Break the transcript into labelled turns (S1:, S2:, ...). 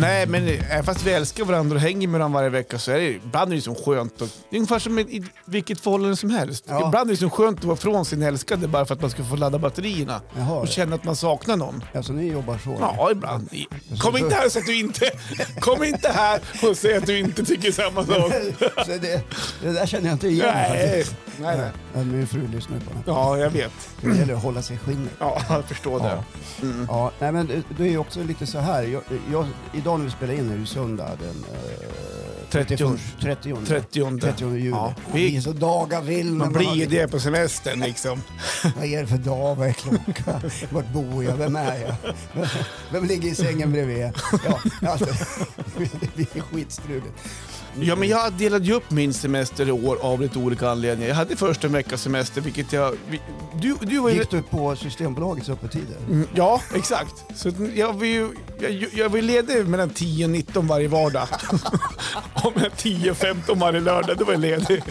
S1: Nej, men även fast vi älskar varandra och hänger med varandra varje vecka så är det ibland är det liksom skönt. Och, det är ungefär som i- i vilket förhållande som helst.
S2: Ja.
S1: Ibland är det liksom skönt att vara från sin älskade bara för att man ska få ladda batterierna
S2: Jaha.
S1: och känna att man saknar någon.
S2: Alltså ni jobbar så?
S1: Ja, ibland. Kom inte här och säg att du inte... Kom inte här och säg att du inte tycker samma sak.
S2: så det, det där känner jag inte igen
S1: Nej,
S2: faktiskt.
S1: nej, nej.
S2: Men Min fru lyssnar ju på den.
S1: Ja, jag vet.
S2: Det gäller att hålla sig i skinnet.
S1: Ja, jag förstår det.
S2: Ja, nej men det- det är ju också lite så här. Jag, jag, idag när vi spelar in är det ju söndag den eh,
S1: 30.
S2: 30,
S1: 30.
S2: 30 juli.
S1: Ja.
S2: Vi är så dagar vill när
S1: Man blir
S2: har
S1: ju
S2: lite-
S1: det på semestern liksom.
S2: Vad är det för dag? Vad är klockan? Vart bor jag? Vem är jag? Vem, vem ligger i sängen bredvid? Ja, alltså, det blir skitstruligt.
S1: Ja, men jag delade ju upp min semester i år av lite olika anledningar. Jag hade först en veckas semester, vilket jag... vi- Du, du var ju...
S2: Gick du på Systembolagets öppettider?
S1: Mm, Ja, exakt. Så att jag var ju jag, jag var ju ledig mellan 10 och 19 varje vardag. och mellan 10 och 15 varje lördag, då var jag ledig.